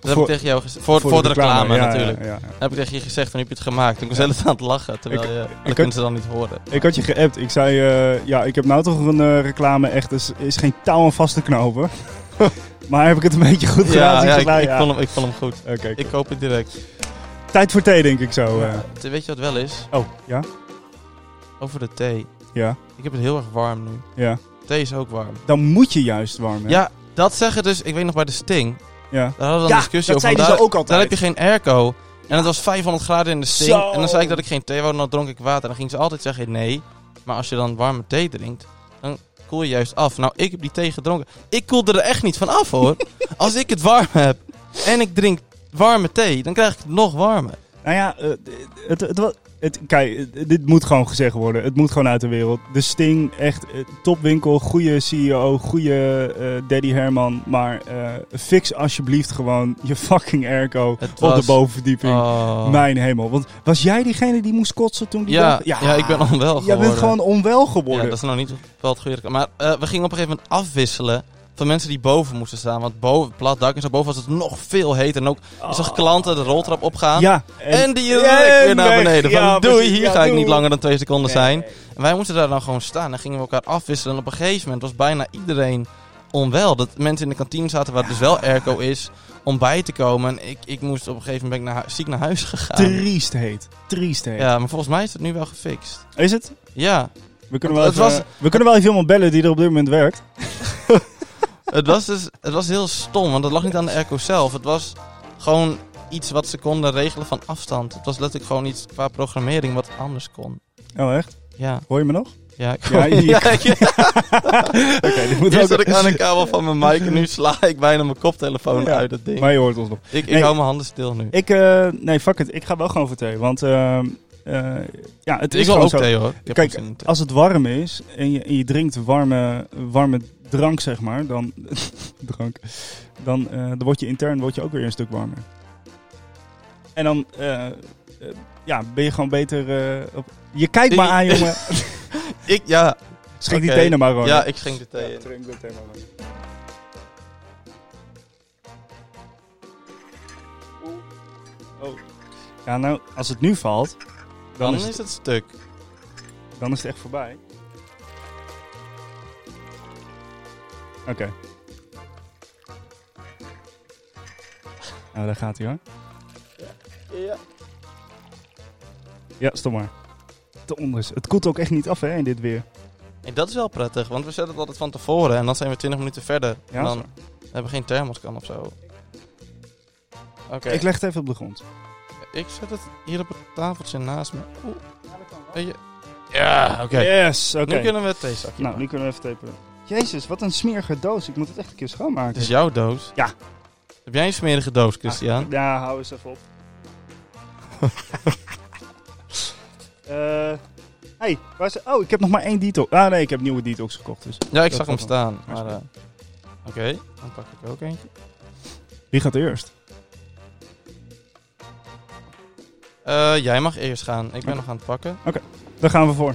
B: Dat heb ik tegen jou gezegd. Voor, voor, de reclame,
A: ja,
B: natuurlijk.
A: ja, ja.
B: Dat heb ik tegen je gezegd en heb je het gemaakt. Toen was ik zelf aan het lachen, terwijl
A: Ik-
B: je,
A: ik
B: dat kunnen
A: heb-
B: ze dan niet horen.
A: Ik had je geappt. Ik zei, eh, ja, ik heb nou toch een eh, reclame echt, is, is geen touw aan vast te knopen. maar heb ik het een beetje goed gedaan? Dus
B: ja,
A: ik zeg,
B: ik,
A: nou,
B: ik
A: ja.
B: vond hem, ik vond hem goed.
A: Oké,
B: Ik koop het direct.
A: tijd voor thee denk ik zo. eh.
B: Eh, Weet je wat wel is?
A: Oh, ja?
B: Over de thee.
A: Ja,
B: Ik heb het heel erg warm nu.
A: ja.
B: Thee is ook warm.
A: Dan moet je juist warm, hè?
B: Ja, dat zeggen dus, ik weet nog bij de Sting.
A: Ja.
B: Daar hadden we
A: Ja,
B: een discussie
A: dat
B: over.
A: zeiden ze
B: want daar-
A: ook altijd.
B: Daar heb je geen airco. En het was 500 graden in de Sting.
A: Zo.
B: En dan zei ik dat ik geen thee wou, en dan dronk ik water. En dan ging ze altijd zeggen, nee, maar als je dan warme thee drinkt, dan koel je juist af. Nou, ik heb die thee gedronken. Ik koelde er echt niet van af, hoor. als ik het warm heb en ik drink warme thee, dan krijg ik het nog warmer.
A: Nou ja, eh, het, het, wa- het- kijk, eh, dit moet gewoon gezegd worden. Het moet gewoon uit de wereld. De Sting, echt eh, topwinkel, goede CEO, goede eh, Daddy Herman. Maar eh, fix alsjeblieft gewoon je fucking airco
B: Het
A: op de
B: was-
A: bovenverdieping.
B: Oh.
A: Mijn hemel. Want was jij diegene die moest kotsen toen die
B: Ja,
A: dag-
B: ja, ik ben onwel geworden.
A: Jij bent gewoon onwel
B: Ja,
A: geworden.
B: dat is nou niet wel het goede. Maar eh, we gingen op een gegeven moment afwisselen van mensen die boven moesten staan. Want boven, plat dak en zo, boven was het nog veel heter. En ook, ik
A: Oh.
B: zag klanten de roltrap opgaan.
A: Ja,
B: En, die
A: en
B: direct weer naar
A: weg.
B: beneden. Van,
A: Ja,
B: doei,
A: precies.
B: hier
A: Ja,
B: ga ik
A: doei.
B: niet langer dan twee seconden
A: Nee.
B: zijn. En wij moesten daar dan gewoon staan. Dan gingen we elkaar afwisselen. En op een gegeven moment was bijna iedereen onwel. Dat mensen in de kantine zaten waar dus wel airco is, om bij te komen. En ik, ik moest op een gegeven moment ben ik naar, hu- ziek naar huis gegaan.
A: Triest heet. Triest heet.
B: Ja, maar volgens mij is het nu wel gefixt.
A: Is het?
B: Ja,
A: We kunnen, wel
B: Het
A: even,
B: was-
A: we kunnen wel even iemand bellen die er op dit moment werkt.
B: Het was dus het was heel stom, want dat lag niet aan de airco zelf. Het was gewoon iets wat ze konden regelen van afstand. Het was letterlijk gewoon iets qua programmering wat anders kon.
A: Oh, echt?
B: Ja,
A: Hoor je me nog?
B: ja. Ik
A: Ja, hier.
B: ja, ik-
A: Oké, dit moet
B: eerst
A: ook...
B: zat ik aan een kabel van mijn mic en nu sla ik bijna mijn koptelefoon
A: Ja,
B: uit dat ding.
A: Maar je hoort ons nog.
B: ik ik
A: nee.
B: hou mijn handen stil nu. Ik,
A: Ik, eh, nee, fuck it. Ik ga wel gewoon voor thee. Want, eh, eh, ja, het is
B: wil
A: gewoon
B: ook
A: zo.
B: thee hoor. Ik heb
A: Kijk,
B: ook zin in thee.
A: Als het warm is en je, en je drinkt warme, warme drank, zeg maar, dan, drank, dan, eh, dan word je intern word je ook weer een stuk warmer. En dan eh, eh, ja, ben je gewoon beter... eh, op... Je kijkt maar aan, jongen.
B: ik, ja,
A: Schrik die
B: Oké.
A: tenen maar gewoon.
B: ja, ik schenk de thee
A: Ja,
B: in.
A: drink dat thema maar. Oh. Ja, nou, als het nu valt, dan
B: Dan
A: is het,
B: is het stuk.
A: dan is het echt voorbij. Oké. Nou, daar gaat hij hoor.
B: Ja.
A: Ja, stom maar. De onderste. Het koelt ook echt niet af hè, in dit weer.
B: En dat is wel prettig, want we zetten het altijd van tevoren en dan zijn we 20 minuten verder.
A: Ja,
B: En
A: dat
B: dan
A: is
B: we hebben we geen thermoskan of zo. Oké.
A: Ik leg het even op de grond.
B: Ik zet het hier op het tafeltje naast me. Oeh. Weet je- Ja, oké.
A: Yes, oké.
B: Nu kunnen we het theezakje
A: Nou, nu kunnen we even taperen. Jezus, wat een smerige doos. Ik moet het echt een keer schoonmaken.
B: Het is jouw doos.
A: Ja.
B: Heb jij een smerige doos, Christian?
A: Ja, hou eens even op. Eh, Hey, waar is- oh, ik heb nog maar één detox. Ah nee, ik heb nieuwe detox gekocht. Dus.
B: Ja, ik
A: Dat
B: zag hem
A: valt
B: staan.
A: Hij
B: Maar,
A: is goed.
B: eh, Oké, dan pak ik ook eentje.
A: Wie gaat eerst?
B: Eh, jij mag eerst gaan. Ik ben
A: Oké.
B: nog aan het pakken.
A: Daar gaan we voor.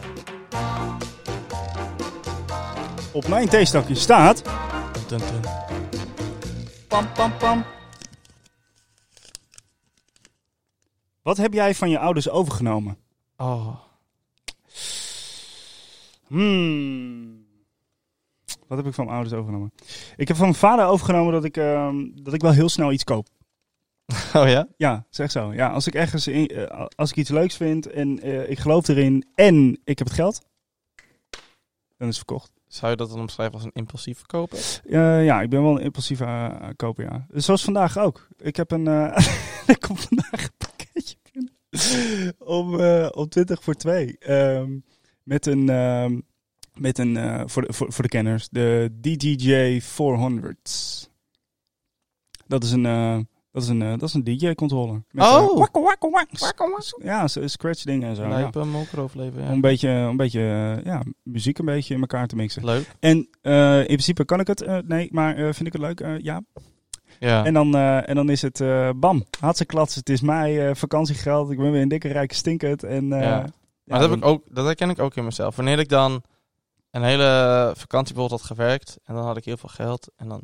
A: Op mijn theestokje staat...
B: Dun, dun, dun.
A: Pam, pam, pam. Wat heb jij van je ouders overgenomen?
B: Oh.
A: Hmm. Wat heb ik van mijn ouders overgenomen? Ik heb van mijn vader overgenomen dat ik, ehm, dat ik wel heel snel iets koop.
B: oh ja?
A: Ja, zeg zo. Ja, als ik ergens in- eh, als ik iets leuks vind en eh, ik geloof erin en ik heb het geld, dan is het verkocht.
B: Zou je dat dan omschrijven als een impulsief verkoper?
A: Eh, ja, ik ben wel een impulsieve eh, koper, ja. Zoals vandaag ook. Ik heb een... eh, er komt vandaag een pakketje binnen. om, eh, om 20 voor 2. met een... ehm, met een eh, voor, de, voor, voor de kenners. De DJJ 400. Dat is een... eh, dat is een, eh, dat is een DJ-controller. Met, eh,
B: Oh!
A: wakko, wakko, wak- Ja, zo'n scratch ding en zo. ja.
B: Lijpen, moker overleven,
A: Om een beetje, een beetje eh, ja, muziek een beetje in elkaar te mixen.
B: ja. Leuk.
A: En eh, in principe kan ik het. eh, nee, maar eh, vind ik het leuk? Eh, ja.
B: Ja.
A: En, dan, eh, en dan is het eh bam. Had ze klats. Het is mei. eh, vakantiegeld. Ik ben weer een dikke rijke stinkert. En, eh,
B: Ja.
A: ja,
B: maar dat,
A: dan-
B: heb ik ook, dat herken ik ook in mezelf. Wanneer ik dan een hele vakantie bijvoorbeeld had gewerkt en dan had ik heel veel geld en dan,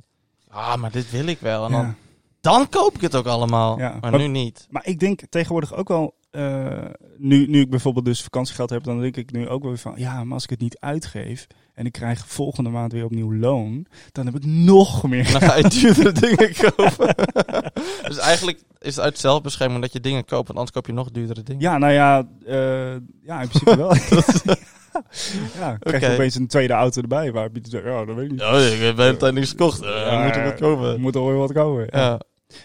B: ah, maar dit wil ik wel. En dan,
A: ja.
B: dan koop ik het ook allemaal.
A: Ja.
B: Maar
A: Maar-
B: nu niet.
A: Maar ik denk tegenwoordig ook wel. eh, nu, nu ik bijvoorbeeld dus vakantiegeld heb, dan denk ik nu ook wel weer van. Ja, maar als ik het niet uitgeef. En ik krijg volgende maand weer opnieuw loon. Dan heb ik nog meer.
B: Dan ga je duurdere dingen kopen. dus eigenlijk is het uit zelfbescherming dat je dingen koopt, want anders koop je nog duurdere dingen.
A: Ja, nou ja, eh, ja, in principe wel. ja, krijg je
B: Oké.
A: opeens een tweede auto erbij. Waar heb je het? Ja, dat weet ik niet.
B: Oh, ik heb de hele tijd niks gekocht. Eh,
A: Ja,
B: moet ik wat kopen.
A: Er moet alweer wat komen. Ja.
B: Ja.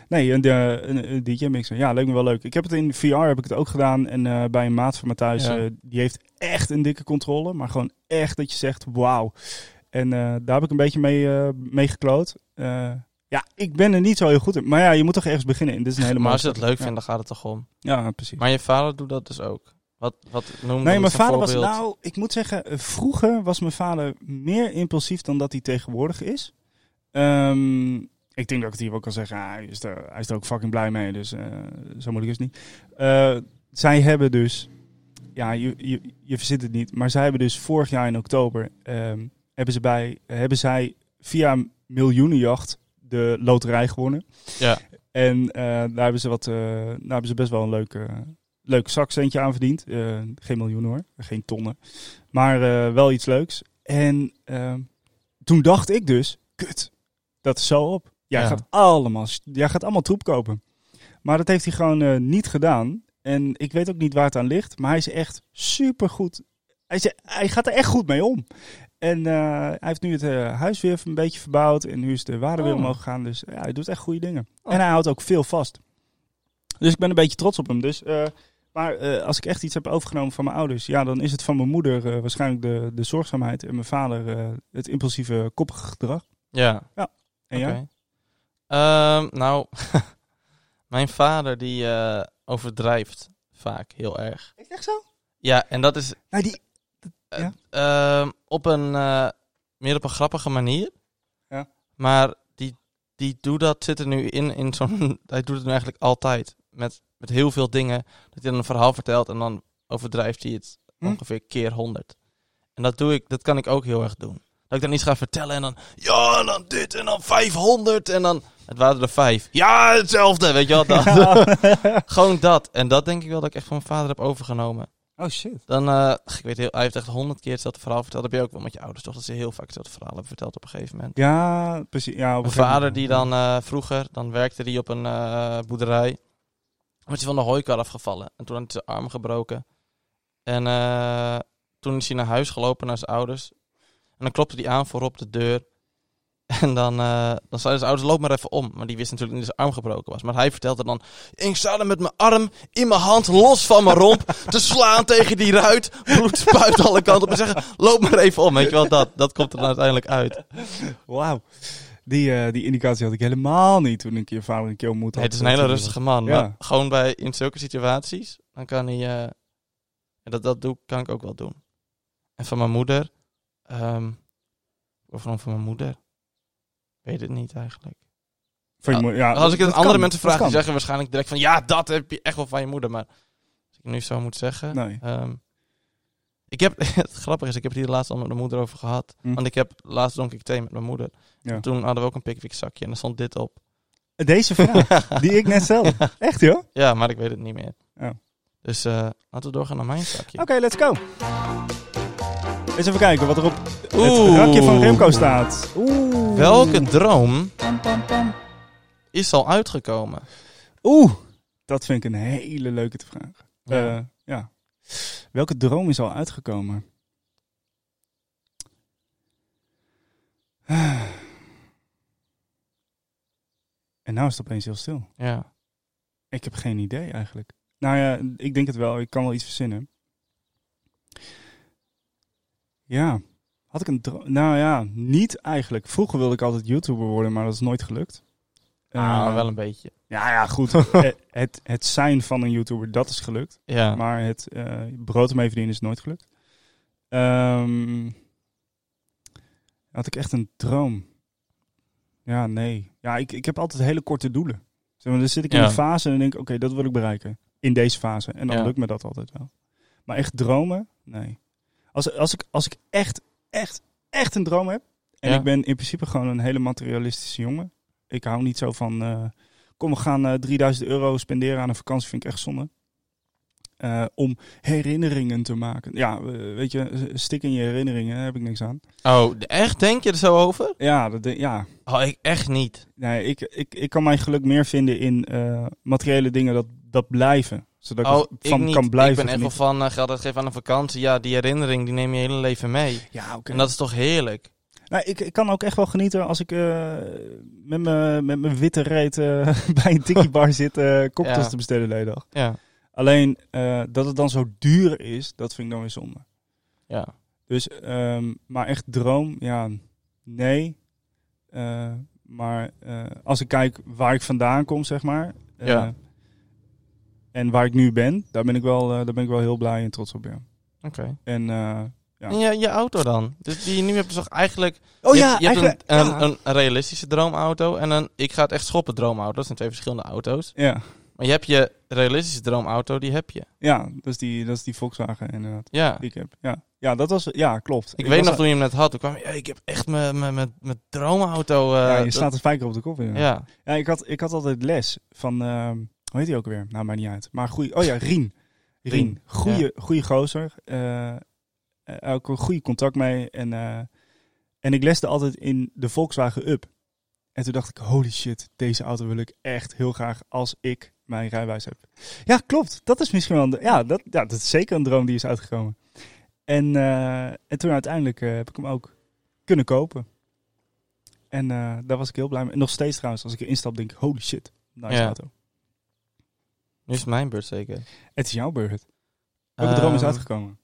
A: Nee, een, eh, een, een DJ mixer. Ja, leek me wel leuk. Ik heb het in VR heb ik het ook gedaan. En eh, bij een maat van me thuis,
B: Ja.
A: eh, die heeft echt een dikke controle. Maar gewoon echt dat je zegt, wauw. En eh, daar heb ik een beetje mee, eh, mee gekloot. Eh, ja, ik ben er niet zo heel goed in. Maar ja, je moet toch ergens beginnen. En dit is een hele
B: Maar als je
A: mooie
B: het leuk
A: ja.
B: vindt, dan gaat het toch om.
A: Ja, precies.
B: Maar je vader doet dat dus ook. Wat, wat noemde
A: Nee, mijn vader was nou, ik moet zeggen, eh, vroeger was mijn vader meer impulsief dan dat hij tegenwoordig is. Ehm, ik denk dat ik het hier wel kan zeggen, ah, hij, is er, hij is er ook fucking blij mee, dus eh, zo moeilijk is het niet. Eh, zij hebben dus, ja, je, je, je verzint het niet, maar zij hebben dus vorig jaar in oktober, ehm, hebben, ze bij, hebben zij via miljoenenjacht de loterij gewonnen.
B: Ja.
A: En eh, daar, hebben ze wat, eh, daar hebben ze best wel een leuk, eh, leuk zakcentje aan verdiend. Eh, geen miljoenen hoor, geen tonnen. Maar eh, wel iets leuks. En eh, toen dacht ik dus, kut, dat is zo op. Jij,
B: Ja.
A: gaat, allemaal, jij gaat allemaal troep kopen. Maar dat heeft hij gewoon eh, niet gedaan. En ik weet ook niet waar het aan ligt. Maar hij is echt supergoed. Hij, is, hij gaat er echt goed mee om. En eh, hij heeft nu het eh, huis weer een beetje verbouwd. En nu is de waarde weer
B: Oh.
A: omhoog gegaan. Dus ja, hij doet echt goede dingen.
B: Oh.
A: En hij houdt ook veel vast. Dus ik ben een beetje trots op hem. Dus, eh, maar eh, als ik echt iets heb overgenomen van mijn ouders... ja, dan is het van mijn moeder eh, waarschijnlijk de, de zorgzaamheid... en mijn vader eh, het impulsieve koppige gedrag.
B: Ja.
A: En ja,
B: Oké. Ehm, nou, mijn vader die eh, overdrijft vaak heel erg.
A: Is echt zo?
B: Ja, en dat is
A: Nou, die...
B: ehm, op een eh, meer op een grappige manier.
A: Ja.
B: Maar die, die doet dat, zit er nu in, in zo'n. Hij doet het nu eigenlijk altijd. Met, met heel veel dingen. Dat hij dan een verhaal vertelt en dan overdrijft hij het
A: Hm?
B: ongeveer keer honderd. En dat doe ik, dat kan ik ook heel erg doen. Dat ik dan iets ga vertellen en dan. Ja, en dan dit en dan 500 en dan. Het waren er vijf. Ja, hetzelfde, weet je wel. Dat, Gewoon dat. En dat denk ik wel dat ik echt van mijn vader heb overgenomen.
A: oh shit.
B: Dan, eh, ik weet heel, hij heeft echt honderd keer hetzelfde verhaal verteld. Dat heb je ook wel met je ouders, toch? Dat ze heel vaak hetzelfde verhaal hebben verteld op een gegeven moment.
A: Ja, precies. Ja, op een
B: Mijn
A: gegeven
B: vader
A: moment.
B: die dan eh, vroeger, dan werkte hij op een eh, boerderij. Werd hij van de hooikar afgevallen. En toen had hij zijn arm gebroken. En eh, toen is hij naar huis gelopen, naar zijn ouders. En dan klopte hij aan voor op de deur. En dan, eh dan zeiden zijn ouders, loop maar even om. Maar die wist natuurlijk niet dat zijn arm gebroken was. Maar hij vertelde dan, ik sta er met mijn arm in mijn hand, los van mijn romp, te slaan tegen die ruit. Bloed spuit alle kanten op en zeggen, loop maar even om. Weet je wel, dat, dat komt er dan uiteindelijk uit.
A: Wauw. Die, eh, die indicatie had ik helemaal niet toen ik je vader een keer ontmoette.
B: Nee, het is een hele rustige man.
A: Ja.
B: Maar gewoon bij, in zulke situaties, dan kan hij... eh, en dat, dat doe, kan ik ook wel doen. En van mijn moeder. ehm of waarom van mijn moeder? Ik weet het niet eigenlijk.
A: Vind ik
B: Ja,
A: mooi. ja,
B: Ah, Als ik het
A: dat
B: andere
A: kan,
B: mensen
A: dat
B: vraag, die
A: kan.
B: zeggen waarschijnlijk direct van... Ja, dat heb je echt wel van je moeder. Maar als ik het nu zo moet zeggen...
A: Nee.
B: Ehm, ik heb, het grappige is, ik heb het hier laatst al met mijn moeder over gehad.
A: Hm.
B: Want ik heb laatst dronk ik thee met mijn moeder.
A: Ja.
B: En Toen hadden we ook een pickwick zakje en er stond dit op.
A: Deze vraag, die ik net stelde. Echt joh? Oké,
B: Ja, maar ik weet het niet meer.
A: Oh.
B: Dus eh, laten we doorgaan naar mijn zakje.
A: let's go. Eens even kijken wat er op het
B: Oeh.
A: rakje van Remco staat. Oeh.
B: Welke droom
A: Pam, pam, pam.
B: is al uitgekomen?
A: Oeh. Dat vind ik een hele leuke te vraag.
B: Ja.
A: Eh, ja. Welke droom is al uitgekomen? Ah. En nou is het opeens heel stil.
B: Ja.
A: Ik heb geen idee eigenlijk. Nou ja, ik denk het wel. Ik kan wel iets verzinnen. Ja, had ik een droom? Nou ja, niet eigenlijk. Vroeger wilde ik altijd YouTuber worden, maar dat is nooit gelukt.
B: Ah,
A: Eh,
B: wel een beetje.
A: Ja, ja, goed. Eh, het, het zijn van een YouTuber, dat is gelukt.
B: Ja.
A: Maar het eh, brood ermee verdienen is nooit gelukt. Ehm, had ik echt een droom? Ja, nee. Ja, ik, ik heb altijd hele korte doelen. Zeg maar, dan zit ik in
B: Ja.
A: een fase en dan denk ik, oké, dat wil ik bereiken. In deze fase. En dan
B: Ja.
A: lukt me dat altijd wel. Maar echt dromen? Nee. Als, als, ik, als ik echt, echt, echt een droom heb. En
B: Ja.
A: ik ben in principe gewoon een hele materialistische jongen. Ik hou niet zo van, eh, kom we gaan eh, 3000 euro spenderen aan een vakantie, vind ik echt zonde. Eh, om herinneringen te maken. Ja, eh, weet je, stik in je herinneringen, daar heb ik niks aan.
B: Oh, de- echt? Denk je er zo over?
A: Ja, dat, de- ja.
B: Oh, ik echt niet.
A: Nee, ik, ik, ik kan mijn geluk meer vinden in eh, materiële dingen dat, dat blijven. Zodat
B: oh,
A: ik er van
B: ik niet.
A: kan blijven.
B: Ik ben echt wel
A: genieten.
B: van eh, geld uitgeven aan een vakantie. Ja, die herinnering die neem je je hele leven mee.
A: Ja, oké.
B: En dat is toch heerlijk?
A: Nou, ik, ik kan ook echt wel genieten als ik eh, met mijn met mijn witte reet eh, bij een tiki bar zit eh cocktails
B: Ja.
A: te bestellen de hele dag.
B: Ja.
A: Alleen eh, dat het dan zo duur is, dat vind ik dan weer zonde.
B: Ja.
A: Dus, ehm, maar echt droom, ja, nee. Eh, maar eh, als ik kijk waar ik vandaan kom, zeg maar. eh,
B: Ja.
A: En waar ik nu ben, daar ben ik wel, eh, daar ben ik wel heel blij en trots op. Ja.
B: Oké.
A: En, eh, Ja.
B: En je, je auto dan? Dus die je nu hebt is toch eigenlijk...
A: oh
B: je
A: ja,
B: hebt, je hebt
A: eigenlijk.
B: een,
A: ja.
B: een, een realistische droomauto en een ik ga het echt schoppen droomauto. Dat zijn twee verschillende auto's.
A: ja,
B: Maar je hebt je realistische droomauto, die heb je.
A: ja, dat is die, dat is die Volkswagen inderdaad.
B: Ja.
A: Die ik heb. Ja, ja dat was. Ja, klopt.
B: Ik, weet
A: was-
B: nog toen je hem net had, toen kwam je, "Ja, ik heb echt mijn- mijn mijn- mijn droomauto. eh,
A: Ja, je
B: dat-
A: slaat de spijker op de kop. inderdaad.
B: Ja.
A: Ja, ik, had, ik had altijd les van, ehm, hoe heet die ook weer? Nou, maakt niet uit. Maar goeie, oh ja, Rien. Rien,
B: Rien,
A: goeie, goeie gozer. eh, eh, ook een goede contact mee. En, eh, en ik leste altijd in de Volkswagen Up. En toen dacht ik, holy shit, deze auto wil ik echt heel graag als ik mijn rijwijs heb. Ja, klopt. Dat is misschien wel een, ja, dat, ja, dat is zeker een droom die is uitgekomen. En, eh, en toen uiteindelijk eh, heb ik hem ook kunnen kopen. En eh, daar was ik heel blij mee. En nog steeds trouwens, als ik erin stap, denk ik, holy shit, nice
B: Ja.
A: auto.
B: Nu is het mijn beurt zeker.
A: Het is jouw beurt. Welke droom is
B: Ehm,
A: uitgekomen?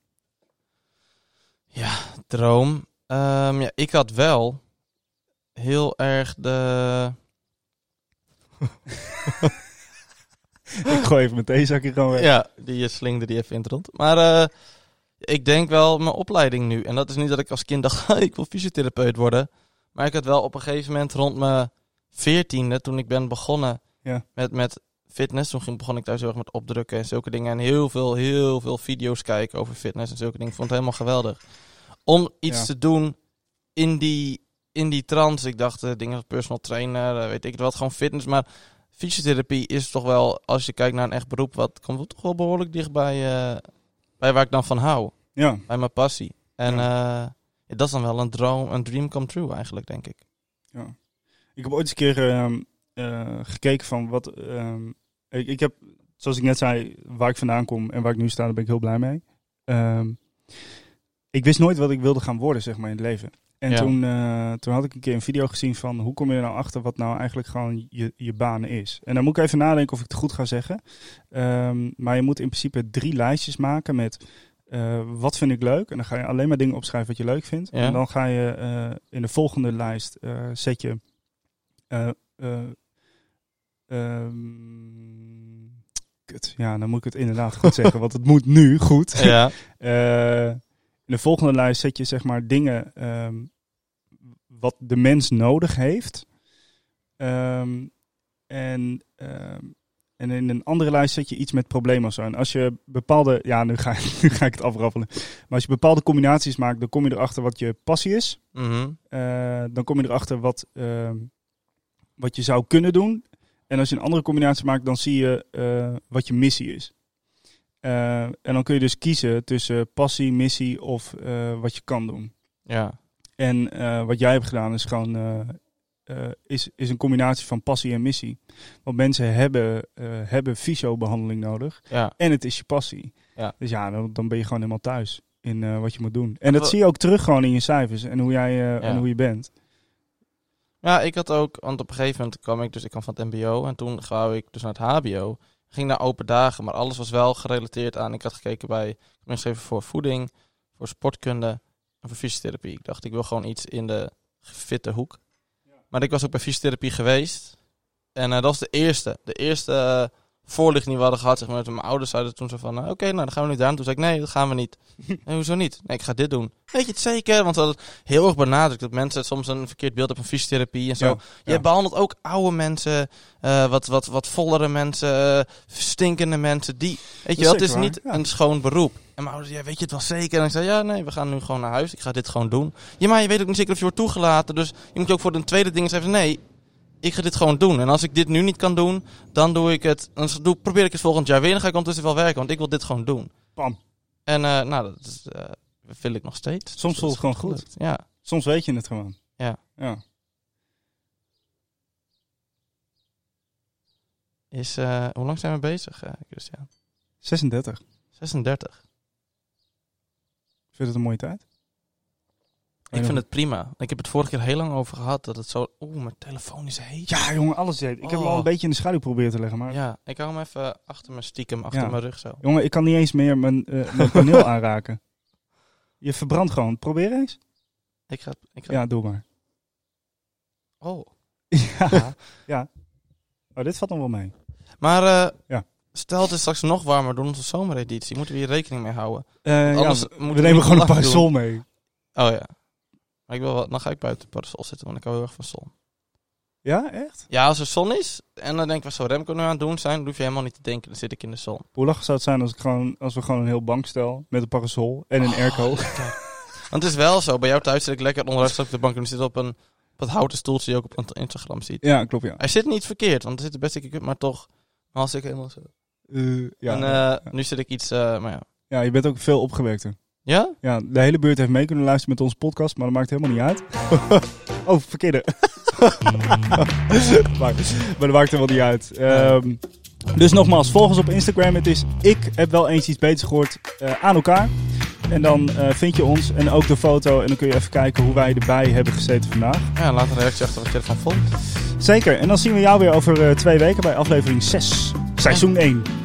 B: droom. Ehm, ja, ik had wel heel erg de.
A: ik gooi even mijn theezakje gewoon weg.
B: Ja, die eh, slingerde die even in het rond. Maar eh, ik denk wel mijn opleiding nu. En dat is niet dat ik als kind dacht, "Ha, ik wil fysiotherapeut worden. Maar ik had wel op een gegeven moment rond mijn veertiende, toen ik ben begonnen
A: Ja.
B: met, met fitness. Toen ging, begon ik thuis heel erg met opdrukken en zulke dingen. En heel veel, heel veel video's kijken over fitness en zulke dingen. Ik vond het helemaal geweldig. Om iets
A: Ja.
B: te doen in die, in die trance. Ik dacht, eh, dingen als personal trainer, eh, weet ik het wat, gewoon fitness. Maar fysiotherapie is toch wel, als je kijkt naar een echt beroep, wat komt wel toch wel behoorlijk dicht bij, eh, bij waar ik dan van hou.
A: Ja.
B: Bij mijn passie. En eh, ja, dat is dan wel een droom, een dream come true eigenlijk, denk ik.
A: Ik heb ooit eens een keer ehm, eh, gekeken van wat... ehm, ik, ik heb, zoals ik net zei, waar ik vandaan kom en waar ik nu sta, daar ben ik heel blij mee. Ehm, ik wist nooit wat ik wilde gaan worden, zeg maar, in het leven. En
B: Ja.
A: toen, eh, toen had ik een keer een video gezien van hoe kom je er nou achter wat nou eigenlijk gewoon je, je baan is. En dan moet ik even nadenken of ik het goed ga zeggen. Ehm, maar je moet in principe drie lijstjes maken met eh, wat vind ik leuk? En dan ga je alleen maar dingen opschrijven wat je leuk vindt.
B: Ja.
A: En dan ga je eh, in de volgende lijst eh, zet je. eh, eh, ehm, kut. Ja, dan moet ik het inderdaad goed zeggen, want het moet nu goed.
B: Ja,
A: Eh, In de volgende lijst zet je zeg maar dingen ehm, wat de mens nodig heeft. Ehm, en, ehm, en in een andere lijst zet je iets met problemen of zo. En als je bepaalde, ja nu ga, ik- nu ga ik het afraffelen. Maar als je bepaalde combinaties maakt, dan kom je erachter wat je passie is.
B: Mhm.
A: Eh, dan kom je erachter wat, ehm, wat je zou kunnen doen. En als je een andere combinatie maakt, dan zie je eh, wat je missie is. Eh, en dan kun je dus kiezen tussen passie, missie of eh, wat je kan doen.
B: Ja.
A: En eh, wat jij hebt gedaan is gewoon eh, eh, is, is een combinatie van passie en missie. Want mensen hebben, eh hebben fysiobehandeling nodig
B: ja.
A: en het is je passie.
B: Ja.
A: Dus ja, dan, dan ben je gewoon helemaal thuis in eh, wat je moet doen. En dat
B: Wel-
A: zie je ook terug gewoon in je cijfers en hoe jij eh, en hoe je bent.
B: Ja, ik had ook, want op een gegeven moment kwam ik, dus ik kwam van het MBO en toen wou ik dus naar het HBO. Ging naar open dagen, maar alles was wel gerelateerd aan. Ik had gekeken bij, ik heb me ingeschreven voor voeding, voor sportkunde en voor fysiotherapie. Ik dacht, ik wil gewoon iets in de fitte hoek. Maar ik was ook bij fysiotherapie geweest en eh, dat was de eerste. De eerste eh, voorlichting die we hadden gehad, zeg maar, mijn ouders zeiden toen zo van, eh, oké, nou dan gaan we nu daar. En toen zei ik, nee, dat gaan we niet. Nee, hoezo niet? Nee, ik ga dit doen. Weet je het zeker? Want ze hadden het heel erg benadrukt dat mensen soms een verkeerd beeld hebben van fysiotherapie en zo.
A: Ja,
B: Je
A: ja.
B: behandelt ook oude mensen, eh, wat, wat, wat vollere mensen, eh, stinkende mensen. Die, weet
A: is
B: je wel, het
A: zeker
B: is
A: waar,
B: niet
A: ja.
B: een schoon beroep. En mijn ouders, ja, weet je het wel zeker? En ik zei, ja, nee, we gaan nu gewoon naar huis. Ik ga dit gewoon doen. Ja, maar je weet ook niet zeker of je wordt toegelaten. Dus je moet ook voor de tweede ding zeggen, nee, ik ga dit gewoon doen. En als ik dit nu niet kan doen, dan doe ik het. Dan doe, probeer ik het volgend jaar weer. Dan ga ik ondertussen wel werken, want ik wil dit gewoon doen.
A: Pam.
B: En eh, nou, dat is, eh, vind ik nog steeds. Dus
A: Soms voelt het gewoon goed.
B: gelukt. Ja.
A: Soms weet je het gewoon.
B: Ja.
A: ja.
B: Is, eh, hoe lang zijn we bezig, eh, Christian?
A: 36. Ik
B: 36.
A: vind je het een mooie tijd.
B: Ik vind het prima. Ik heb het vorige keer heel lang over gehad dat het zo. Oeh, mijn telefoon is heet.
A: Ja, jongen, alles deed. Ik heb hem al een
B: Oh.
A: beetje in de schaduw proberen te leggen, maar...
B: Ja, ik hou hem even achter mijn stiekem, achter
A: Ja.
B: mijn rug zo.
A: Jongen, ik kan niet eens meer mijn, eh, mijn paneel aanraken. Je verbrandt gewoon. Probeer eens.
B: Ik ga. Ik ga
A: Ja, doe maar.
B: Oh.
A: Ja. ja. Oh, dit valt dan wel mee.
B: Maar eh,
A: Ja.
B: stel het is straks nog warmer door onze zomereditie. Moeten we hier rekening mee houden?
A: Eh,
B: Anders
A: ja,
B: moeten
A: we
B: we
A: nemen
B: niet
A: gewoon een
B: lachen
A: parasol mee.
B: Oh ja. Maar ik wil wel, dan ga ik buiten het parasol zitten, want ik hou heel erg van zon.
A: Ja, echt?
B: Ja, als er zon is en dan denk ik, wat zou Remco nu aan het doen zijn? Dan hoef je helemaal niet te denken, dan zit ik in de zon.
A: Hoe lachig zou het zijn als, ik gewoon, als we gewoon een heel bankstel met een parasol en een
B: Oh.
A: airco.
B: Want het is wel zo, bij jou thuis zit ik lekker onderuit straks op de bank en zit op een op dat houten stoeltje die je ook op Instagram ziet.
A: Ja, klopt, ja.
B: Hij zit niet verkeerd, want er zit best dikke kut, maar toch. Als ik helemaal zo.
A: Eh, ja.
B: en eh, nu zit ik iets, eh, maar ja.
A: ja, je bent ook veel opgewekter.
B: Ja?
A: Ja, de hele buurt heeft mee kunnen luisteren met onze podcast, maar dat maakt helemaal niet uit. oh, verkeerde. maar, maar dat maakt helemaal niet uit. Ehm, dus nogmaals, volg ons op Instagram. Het is ik heb wel eens iets beters gehoord eh, aan elkaar. En dan eh, vind je ons en ook de foto. En dan kun je even kijken hoe wij erbij hebben gezeten vandaag.
B: ja, laat een reactie achter wat je ervan vond.
A: Zeker. En dan zien we jou weer over eh, twee weken bij aflevering 6. Seizoen 1.